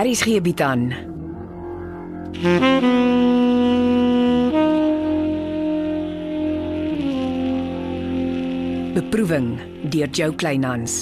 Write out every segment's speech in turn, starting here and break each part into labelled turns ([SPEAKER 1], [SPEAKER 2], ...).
[SPEAKER 1] Aries gee bied aan. Beproeving deur Jo Kleinhans.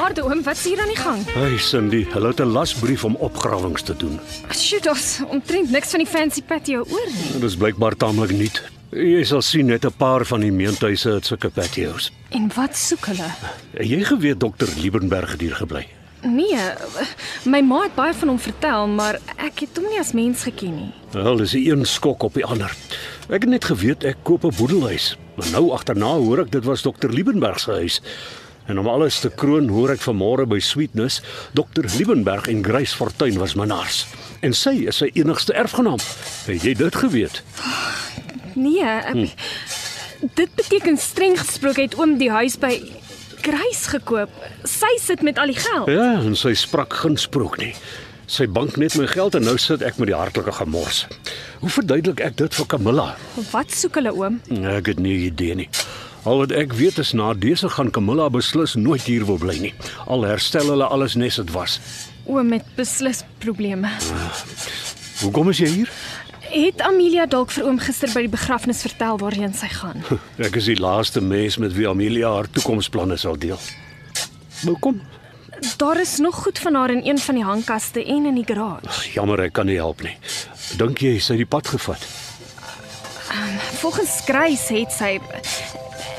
[SPEAKER 2] Aarde oom, wat's hier aan die gang?
[SPEAKER 3] Hey Cindy, hulle het 'n lasbrief om opgrawings te doen.
[SPEAKER 2] Sjoe, daar's omtrent niks van die fancy patio oor nie.
[SPEAKER 3] Dit is blykbaar taamlik nuut. Jy sal sien net 'n paar van die meentuise het sulke patios.
[SPEAKER 2] En wat soek hulle?
[SPEAKER 3] Het Jy geweet dokter Liebenberg het hier gebly.
[SPEAKER 2] Nee, my ma het baie van hom vertel, maar ek het hom nie as mens geken nie.
[SPEAKER 3] Wel, dis die een skok op die ander. Ek het net geweet ek koop 'n boedelhuis, maar nou agterna hoor ek dit was dokter Liebenberg se huis. En om alles te kroon hoor ek vanmôre by Sweetness, dokter Liebenberg en Grace Fortuin was minnaars. En sy is sy enigste erfgenaam. Het jy dit geweet?
[SPEAKER 2] Nee, ek, dit beteken streng gesproke het oom die huis by Grace gekoop. Sy sit met al die geld.
[SPEAKER 3] Ja, en sy sprak geen sprook nie. Sy bank net my geld en nou sit ek met die hartlike gemors. Hoe verduidelik ek dit vir Camilla?
[SPEAKER 2] Wat soek hulle oom?
[SPEAKER 3] Ek het nie idee nie. Al wat ek weet is na dese gaan Camilla beslis nooit hier wil bly nie. Al herstel hulle alles nes dit was.
[SPEAKER 2] Oom het beslis probleme.
[SPEAKER 3] Hoekom is jy hier?
[SPEAKER 2] Het Amelia dalk vir oom gister by die begrafnis vertel waarheen sy gaan?
[SPEAKER 3] Ek is die laaste mens met wie Amelia haar toekomsplanne sal deel. Nou kom.
[SPEAKER 2] Daar is nog goed van haar in een van die hangkaste en in die garage.
[SPEAKER 3] Jammer ek kan nie help nie. Dink jy sy het die pad gevat?
[SPEAKER 2] Volgens Grace het sy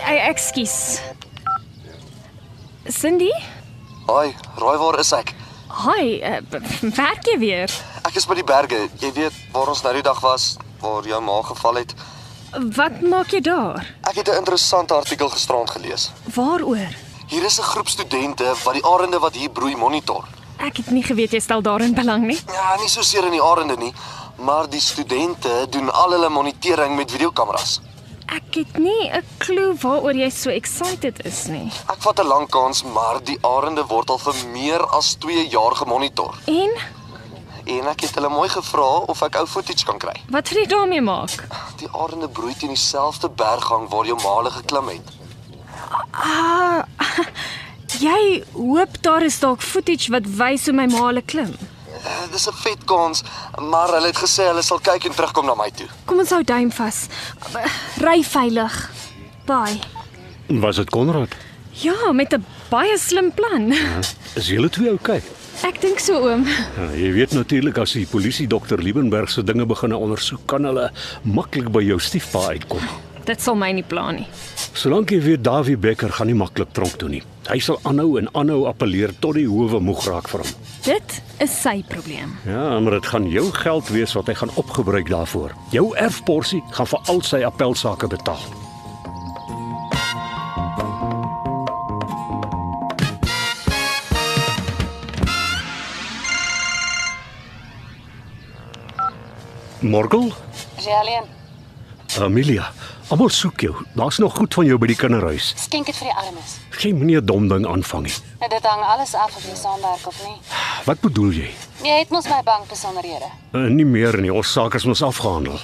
[SPEAKER 2] Ey, ekskuus. Cindy?
[SPEAKER 4] Haai, raai waar is ek?
[SPEAKER 2] Hi, eh, b- werk jy weer?
[SPEAKER 4] Ek is by die berge. Jy weet waar ons nou die dag was waar jou ma geval het.
[SPEAKER 2] Wat maak jy daar?
[SPEAKER 4] Ek het 'n interessante artikel gisteraand gelees.
[SPEAKER 2] Waaroor?
[SPEAKER 4] Hier is 'n groep studente wat die arende wat hier broei monitor.
[SPEAKER 2] Ek het nie geweet jy stel daarin belang nie.
[SPEAKER 4] Ja, nie so seer in die arende nie, maar die studente doen al hulle monitering met videokameras.
[SPEAKER 2] Ek het nie 'n klou waaroor jy so excited is nie.
[SPEAKER 4] Ek vat 'n lang kans, maar die arende word al vir meer as 2 jaar gemonitor.
[SPEAKER 2] En
[SPEAKER 4] En ek het hulle mooi gevra of ek ou footage kan kry.
[SPEAKER 2] wat wil jy daarmee maak?
[SPEAKER 4] Die arende broei teen dieselfde berggang waar jou ma hulle geklim het.
[SPEAKER 2] Ah, jy hoop daar is dalk footage wat wys hoe my ma hulle klim.
[SPEAKER 4] Eh, Dis 'n vet kans, maar hulle het gesê hulle sal kyk en terugkom na my toe.
[SPEAKER 2] Kom ons hou duim vas. Ry veilig. Bye.
[SPEAKER 3] Was dit Konrad?
[SPEAKER 2] Ja, met 'n baie slim plan.
[SPEAKER 3] Is julle twee oukei? Okay?
[SPEAKER 2] Ek dink so oom.
[SPEAKER 3] Ja, jy weet natuurlik as die polisie dokter Liebenberg se dinge begin ondersoek, kan hulle maklik by jou stiefpa uitkom.
[SPEAKER 2] Dit sal my nie plan nie.
[SPEAKER 3] Solank jy weet Dawie Becker gaan nie maklik tronk toe nie. Hy sal aanhou en aanhou appeleer tot die howe moeg raak vir hom.
[SPEAKER 2] Dit is sy probleem.
[SPEAKER 3] Ja, maar dit gaan jou geld wees wat hy gaan opgebruik daarvoor. Jou erfporsie gaan vir al sy appelsake betaal. Morgel?
[SPEAKER 5] Is jy alleen?
[SPEAKER 3] Amelia, almal soek jou. Daar's nog goed van jou by die kinderhuis.
[SPEAKER 5] Skenk dit vir die armes.
[SPEAKER 3] Geen meneer dom ding aanvang nie.
[SPEAKER 5] Nou dit hang alles af of jy saamwerk of nie.
[SPEAKER 3] Wat bedoel jy?
[SPEAKER 5] Jy het mos my bank besonderhede.
[SPEAKER 3] Uh, nie meer nie. Ons saak is mos afgehandel.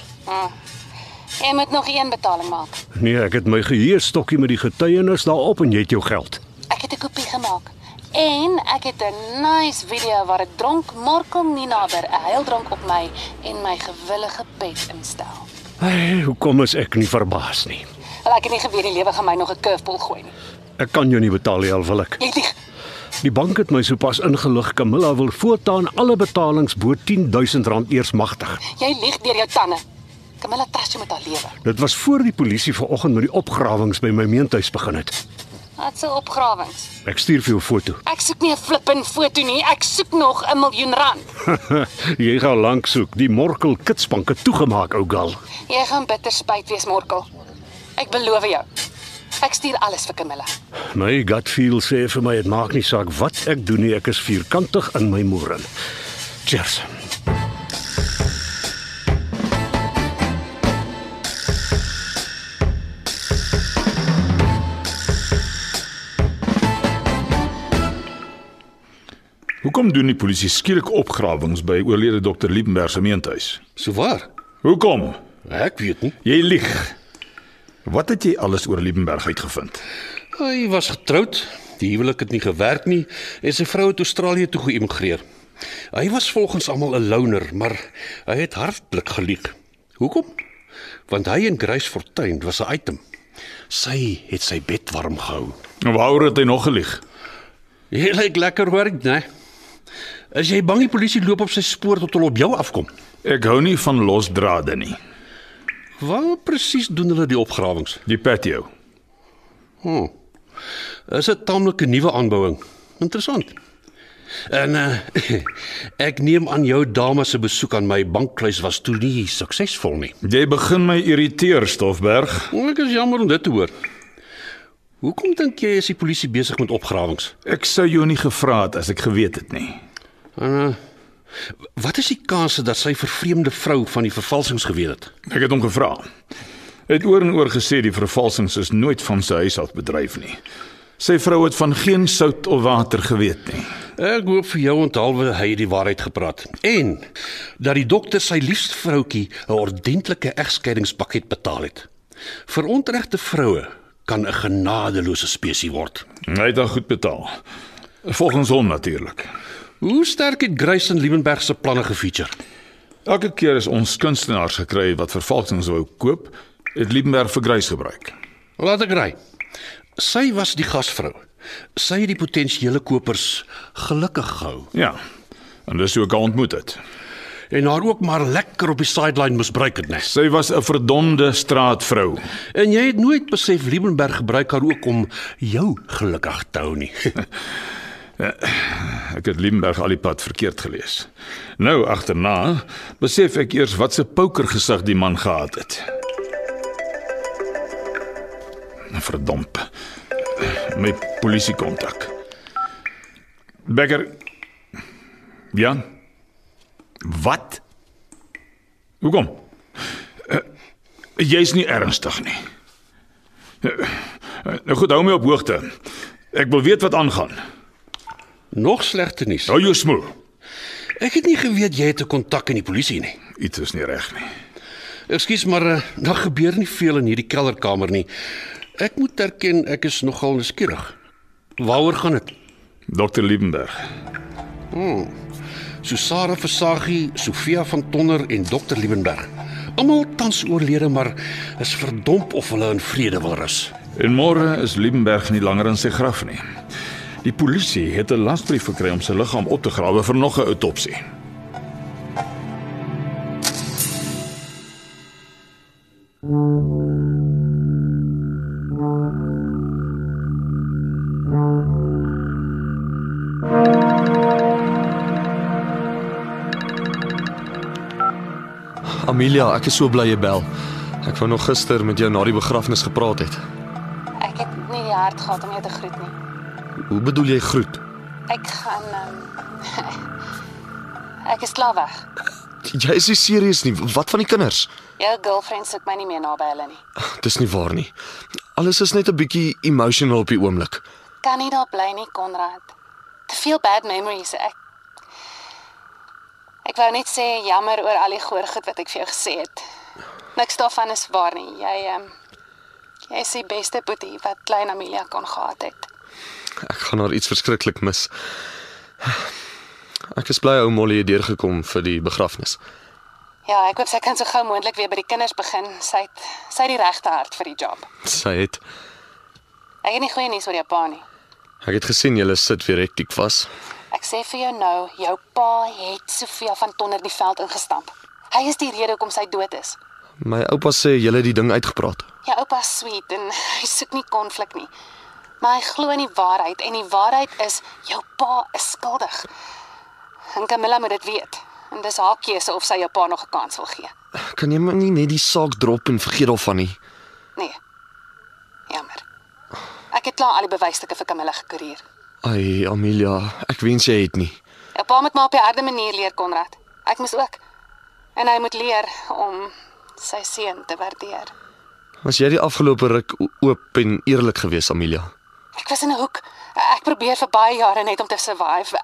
[SPEAKER 5] Jy moet nog een betaling maak.
[SPEAKER 3] Nee, ek het my geheerstokkie met die getuienis daarop en jy het jou geld.
[SPEAKER 5] Ek het 'n kopie gemaak. En ek het 'n nice video waar 'n dronk Markel Ninaber 'n huildronk op my en my gewillige pet instel.
[SPEAKER 3] Hey, hoekom is ek nie verbaas nie?
[SPEAKER 5] Wel ek het nie geweet die lewe gaan my nog 'n curveball gooi nie.
[SPEAKER 3] Ek kan jou nie betaal nie, al wil ek.
[SPEAKER 5] Jy lieg.
[SPEAKER 3] Die bank het my sopas ingelig. Camilla wil voortaan alle betalings bo R10000 eers magtig.
[SPEAKER 5] Jy lieg deur jou tande. Camilla trust jou met haar lewe.
[SPEAKER 3] Dit was voor die polisie vanoggend met die opgrawings by my meentuis begin het.
[SPEAKER 5] Wat se opgrawings.
[SPEAKER 3] Ek stuur vir jou 'n foto.
[SPEAKER 5] Ek soek nie 'n flippin foto nie. Ek soek nog 'n miljoen rand.
[SPEAKER 3] jy gaan lank soek. Die Morkel Kitsbanke toegemaak, ou gal.
[SPEAKER 5] Jy gaan bitter spyt wees, Morkel. Ek beloof jou. Ek stuur alles vir Camilla.
[SPEAKER 3] My gut feel sê vir my dit maak nie saak wat ek doen nie, ek is vierkantig in my moerin. Cheers.
[SPEAKER 6] Hoekom doen die polisie skielik opgrawings by oorlede dokter Liebenberg se meentuis?
[SPEAKER 7] So waar?
[SPEAKER 6] Hoekom?
[SPEAKER 7] Ek weet nie.
[SPEAKER 6] Jy lieg. Wat het jy alles oor Liebenberg uitgevind?
[SPEAKER 7] Hy was getroud. Die huwelik het nie gewerk nie en sy vrou het Australië toe geëmigreer. Hy was volgens almal 'n loner, maar hy het hardlik gelieg. Hoekom? Want hy en Grace Fortuin was 'n item. Sy het sy bed warm gehou.
[SPEAKER 6] Waaroor het hy nog gelieg?
[SPEAKER 7] Jy lyk lekker werk, né? As jy bang die polisie loop op sy spoor tot hulle op jou afkom.
[SPEAKER 6] Ek hou nie van losdrade nie.
[SPEAKER 7] Waar presies doen hulle die opgrawings?
[SPEAKER 6] Die patio.
[SPEAKER 7] Hm. Is 'n taamlike nuwe aanbouing. Interessant. En uh, ek neem aan jou dame se besoek aan my bankkluis was toe nie suksesvol nie.
[SPEAKER 6] Jy begin my irriteer, Stoffberg.
[SPEAKER 7] Hm, Ek is jammer om dit te hoor. Hoekom dink jy is die polisie besig met opgrawings?
[SPEAKER 6] Ek sou jou nie gevra het as ek geweet het nie.
[SPEAKER 7] En, uh, wat is die kanse dat sy vervreemde vrou van die vervalsings geweet het?
[SPEAKER 6] Ek het hom gevra. Hy het oor en oor gesê die vervalsings is nooit van sy huis af bedryf nie. Sy vrou het van geen sout of water geweet nie.
[SPEAKER 7] Ek hoop vir jou onthaalwe hy het die waarheid gepraat en dat die dokter sy liefste vroutjie 'n ordentlike egskeidingspakket betaal het. Vir onregte vroue kan 'n genadelose spesies word.
[SPEAKER 6] Hy het haar goed betaal. Volgens hom natuurlik.
[SPEAKER 7] Hoe sterk het Grace en Liebenberg se planne gefeature?
[SPEAKER 6] Elke keer as ons kunstenaars gekry het wat vervalsings wou koop, het Liebenberg vir grys gebruik.
[SPEAKER 7] Laat ek ry. Sy was die gasvrou. Sy het die potensiële kopers gelukkig gehou
[SPEAKER 6] Ja. En dis hoe ek haar ontmoet het.
[SPEAKER 7] en haar ook maar lekker op die sideline misbruik het, nes.
[SPEAKER 6] Sy was 'n verdomde straatvrou.
[SPEAKER 7] En jy het nooit besef Liebenberg gebruik haar ook om jou gelukkig te hou nie.
[SPEAKER 6] Ek het Liebenberg al die pad verkeerd gelees. Nou agterna besef ek eers wat 'n pokergesig die man gehad het. Verdomp. My polisie kontak. Becker. Ja. Wat? Hoekom? Eh, Jy's nie ernstig nie. Eh, eh, Nou goed, hou my op hoogte. Ek wil weet wat aangaan.
[SPEAKER 7] Nog slegter nuus.
[SPEAKER 6] Hou jou smoel.
[SPEAKER 7] Ek het nie geweet jy het 'n kontak in die polisie nie.
[SPEAKER 6] Iets is nie reg nie.
[SPEAKER 7] Ekskuus, maar eh, daar gebeur nie veel in hierdie kelderkamer nie. Ek moet erken ek is nogal nuuskierig. Waaroor gaan dit?
[SPEAKER 6] Dr Liebenberg.
[SPEAKER 7] Susara Versaghi, Sofia van Tonner en Dr Liebenberg. Almal tans oorlede, maar is verdomp of hulle in vrede wil rus.
[SPEAKER 6] En môre is Liebenberg nie langer in sy graf nie. Die polisie het 'n lasbrief gekry om sy liggaam op te grawe vir nog 'n autopsie.
[SPEAKER 8] Amelia, ek is so bly jy bel. Ek wou nog gister met jou na die begrafnis gepraat het.
[SPEAKER 5] Ek het nie die hart gehad om jou te groet nie.
[SPEAKER 8] Hoe bedoel jy groet?
[SPEAKER 5] Ek gaan um, Ek is klaar weg.
[SPEAKER 8] Jy is nie serieus nie. Wat van die kinders?
[SPEAKER 5] Jou girlfriend sit my nie meer naby hulle nie.
[SPEAKER 8] Dis nie waar nie. Alles is net 'n bietjie emotional op die oomblik.
[SPEAKER 5] Kan nie daar bly nie, Konrad. Te veel bad memories. Ek Ek wou net sê jammer oor al die goeie goed wat ek vir jou gesê het. Niks daarvan is waar nie. Jy ehm um, jy is die beste boetie wat klein Amelia kon gehad het.
[SPEAKER 8] Ek gaan haar iets verskriklik mis. Ek is bly ou Molly het deurgekom vir die begrafnis.
[SPEAKER 5] Ja, ek hoop sy kan so gou moontlik weer by die kinders begin. Sy het sy het die regte hart vir die job.
[SPEAKER 8] Sy het
[SPEAKER 5] Ek het nie goeie nuus oor jou pa nie.
[SPEAKER 8] Ek het gesien jy sit weer hektiek vas.
[SPEAKER 5] Ek sê vir jou nou, jou pa het Sofia van Tonner die veld ingestamp. Hy is die rede hoekom sy dood is.
[SPEAKER 8] My oupa sê jy het die ding uitgepraat.
[SPEAKER 5] Jou oupa is sweet en hy soek nie konflik nie. Maar hy glo in die waarheid en die waarheid is jou pa is skuldig. En Camilla moet dit weet. En dis haar keuse of sy jou pa nog 'n kans wil gee.
[SPEAKER 8] Kan jy maar nie net die saak drop en vergeet daarvan nie?
[SPEAKER 5] Nee. Jammer. Ek het klaar al die bewysstukke vir Camilla gekurier.
[SPEAKER 8] Ai, Amelia, ek wens jy het nie.
[SPEAKER 5] Jou pa moet maar op die harde manier leer, Konrad. Ek moes ook. En hy moet leer om sy seun te waardeer.
[SPEAKER 8] Was jy die afgelope ruk o- oop en eerlik gewees, Amelia?
[SPEAKER 5] Ek was in 'n hoek. Ek probeer vir baie jare net om te survive.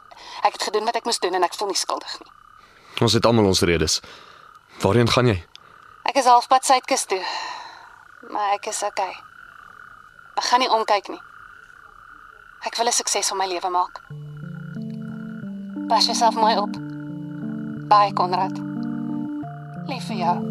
[SPEAKER 5] Ek het gedoen wat ek moes doen en ek voel nie skuldig nie.
[SPEAKER 8] Ons het almal ons redes. Waarheen gaan jy?
[SPEAKER 5] Ek is halfpad suidkus toe. maar ek is okay. Ek gaan nie omkyk nie. Ek wil 'n sukses van my lewe maak. Pas jouself mooi op. Bye Konrad. Lief vir jou.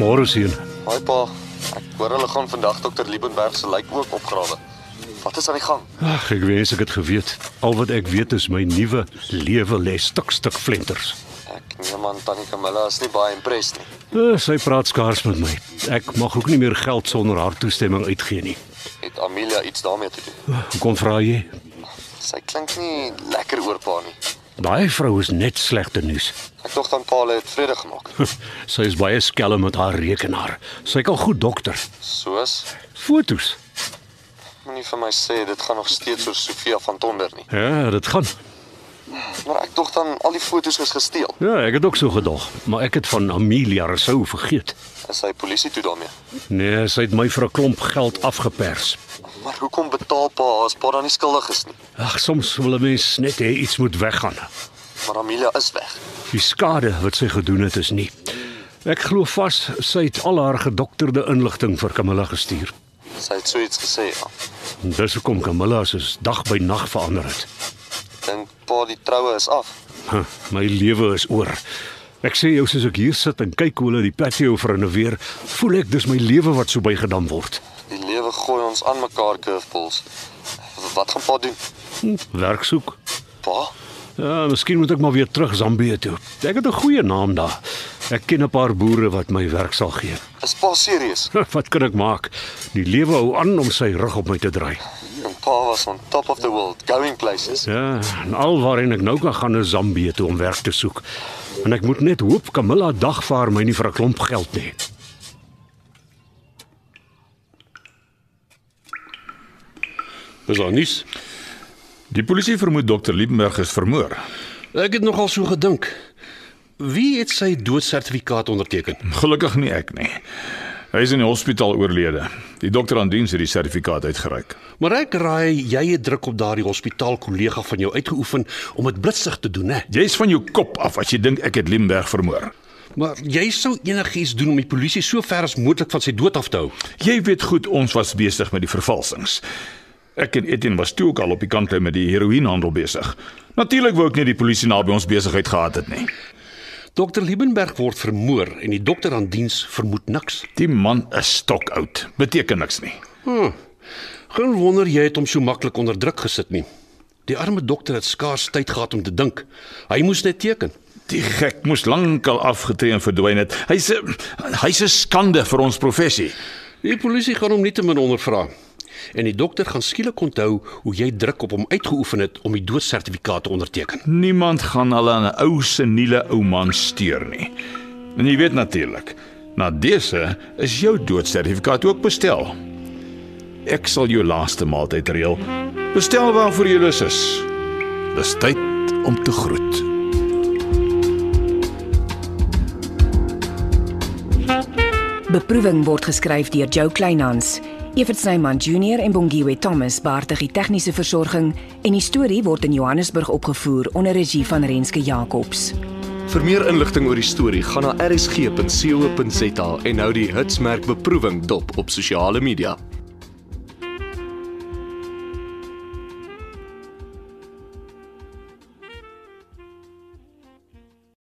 [SPEAKER 3] Môre sien.
[SPEAKER 4] Haai pa, ek hoor hulle gaan vandag dokter Liebenberg se lijk ook opgrawe. Wat is aan die gang?
[SPEAKER 3] Ag, ek wens ek het geweet. Al wat ek weet is my nuwe lewe lê stuk stuk flenters.
[SPEAKER 4] Ek neem aan tannie Camilla is nie baie impressed nie.
[SPEAKER 3] Uh, sy praat skaars met my. Ek mag ook nie meer geld sonder haar toestemming uitgee nie.
[SPEAKER 4] Het Amelia iets daarmee te doen?
[SPEAKER 3] Hoekom vra jy?
[SPEAKER 4] Sy klink nie lekker oor pa nie.
[SPEAKER 3] Daai vrou is net slegte nuus.
[SPEAKER 4] Ek dink dan pa het vrede gemaak.
[SPEAKER 3] Sy is baie skelm met haar rekenaar. Sy kan goed dokter.
[SPEAKER 4] Soos
[SPEAKER 3] Fotos.
[SPEAKER 4] moenie vir my sê dit gaan nog steeds oor Sofia van Tonder nie.
[SPEAKER 3] Ja, dit gaan.
[SPEAKER 4] Maar ek dink dan al die fotos is gesteel.
[SPEAKER 3] Ja, ek het ook so gedog, maar ek het van Amelia Rousseau vergeet.
[SPEAKER 4] Is hy polisie toe daarmee?
[SPEAKER 3] Nee, sy het my vir 'n klomp geld afgepers.
[SPEAKER 4] Maar hoekom betaal pa as pa dan nie skuldig is nie?
[SPEAKER 3] Ag, soms wil 'n mens net hê iets moet weggaan.
[SPEAKER 4] Maar Amelia is weg.
[SPEAKER 3] Die skade wat sy gedoen het is nie. Ek glo vas sy het al haar gedokterde inligting vir Camilla gestuur.
[SPEAKER 4] Sy het so iets gesê. Ja.
[SPEAKER 3] En Dis hoekom Camilla se dag by nag verander het.
[SPEAKER 4] Dink pa die troue is af.
[SPEAKER 3] Huh, my lewe is oor. Ek sê jou soos ek hier sit en kyk hoe hulle die patio vernuweer, voel ek dis my lewe wat so bygedam word.
[SPEAKER 4] Die lewe gooi ons aan mekaar curveballs. Wat gaan pa doen?
[SPEAKER 3] Hm, Werk soek.
[SPEAKER 4] Pa?
[SPEAKER 3] Ja, miskien moet ek maar weer terug Zambië toe. Ek het 'n goeie naam daar. Ek ken 'n paar boere wat my werk sal gee.
[SPEAKER 4] Is pa serieus?
[SPEAKER 3] Wat kan ek maak? Die lewe hou aan om sy rug op my te draai.
[SPEAKER 4] En pa was on top of the world, going places.
[SPEAKER 3] Ja, en alwaarheen ek nou kan gaan is Zambië toe om werk te soek. En ek moet net hoop Camilla dagvaar my nie vir 'n klomp geld nie.
[SPEAKER 7] Is daar nuus?
[SPEAKER 6] Die polisie vermoed dokter Liebenberg is vermoor.
[SPEAKER 7] Ek het nogal so gedink. Wie het sy doodsertifikaat onderteken?
[SPEAKER 6] Gelukkig nie ek nie. Hy is in die hospitaal oorlede. Die dokter aan diens het die sertifikaat uitgereik.
[SPEAKER 7] Maar ek raai jy het druk op daardie hospitaalkollega van jou uitgeoefen om dit blitsig te doen, hè?
[SPEAKER 6] Jy's van jou kop af as jy dink ek het Liebenberg vermoor.
[SPEAKER 7] Maar jy sou enigiets doen om die polisie so ver as moontlik van sy dood af te hou.
[SPEAKER 6] Jy weet goed ons was besig met die vervalsings. Ek en Etienne was toe ook al op die kantlyn met die heroïnehandel besig. Natuurlik wou ek nie die polisie naby ons besigheid gehad het nie.
[SPEAKER 7] Dr Liebenberg word vermoor en die dokter aan diens vermoed niks.
[SPEAKER 6] Die man is stokoud. Beteken niks nie.
[SPEAKER 7] Hm. Geen wonder jy het hom so maklik onder druk gesit nie. Die arme dokter het skaars tyd gehad om te dink. Hy moes net teken.
[SPEAKER 6] Die gek moes lankal afgetree en verdwyn het. Hy's 'n hy's 'n skande vir ons professie.
[SPEAKER 7] Die polisie gaan hom nie te min ondervra. En die dokter gaan skielik onthou hoe jy druk op hom uitgeoefen het om die doodsertifikaat te onderteken.
[SPEAKER 6] Niemand gaan hulle aan 'n ou seniele ou man steur nie. En jy weet natuurlik, na dese is jou doodsertifikaat ook bestel. Ek sal jou laaste maaltyd reël. Bestel waarvoor jy lus is. Dis tyd om te groet.
[SPEAKER 1] Beproeving word geskryf deur Jo Kleinhans. Evert Snyman Junior en Bongwe Thomas baartig die tegniese versorging en die storie word in Johannesburg opgevoer onder regie van Renske Jacobs.
[SPEAKER 8] Vir meer inligting oor die storie, gaan na rsg.co.za en hou die hitsmerk beproewing dop op sosiale media.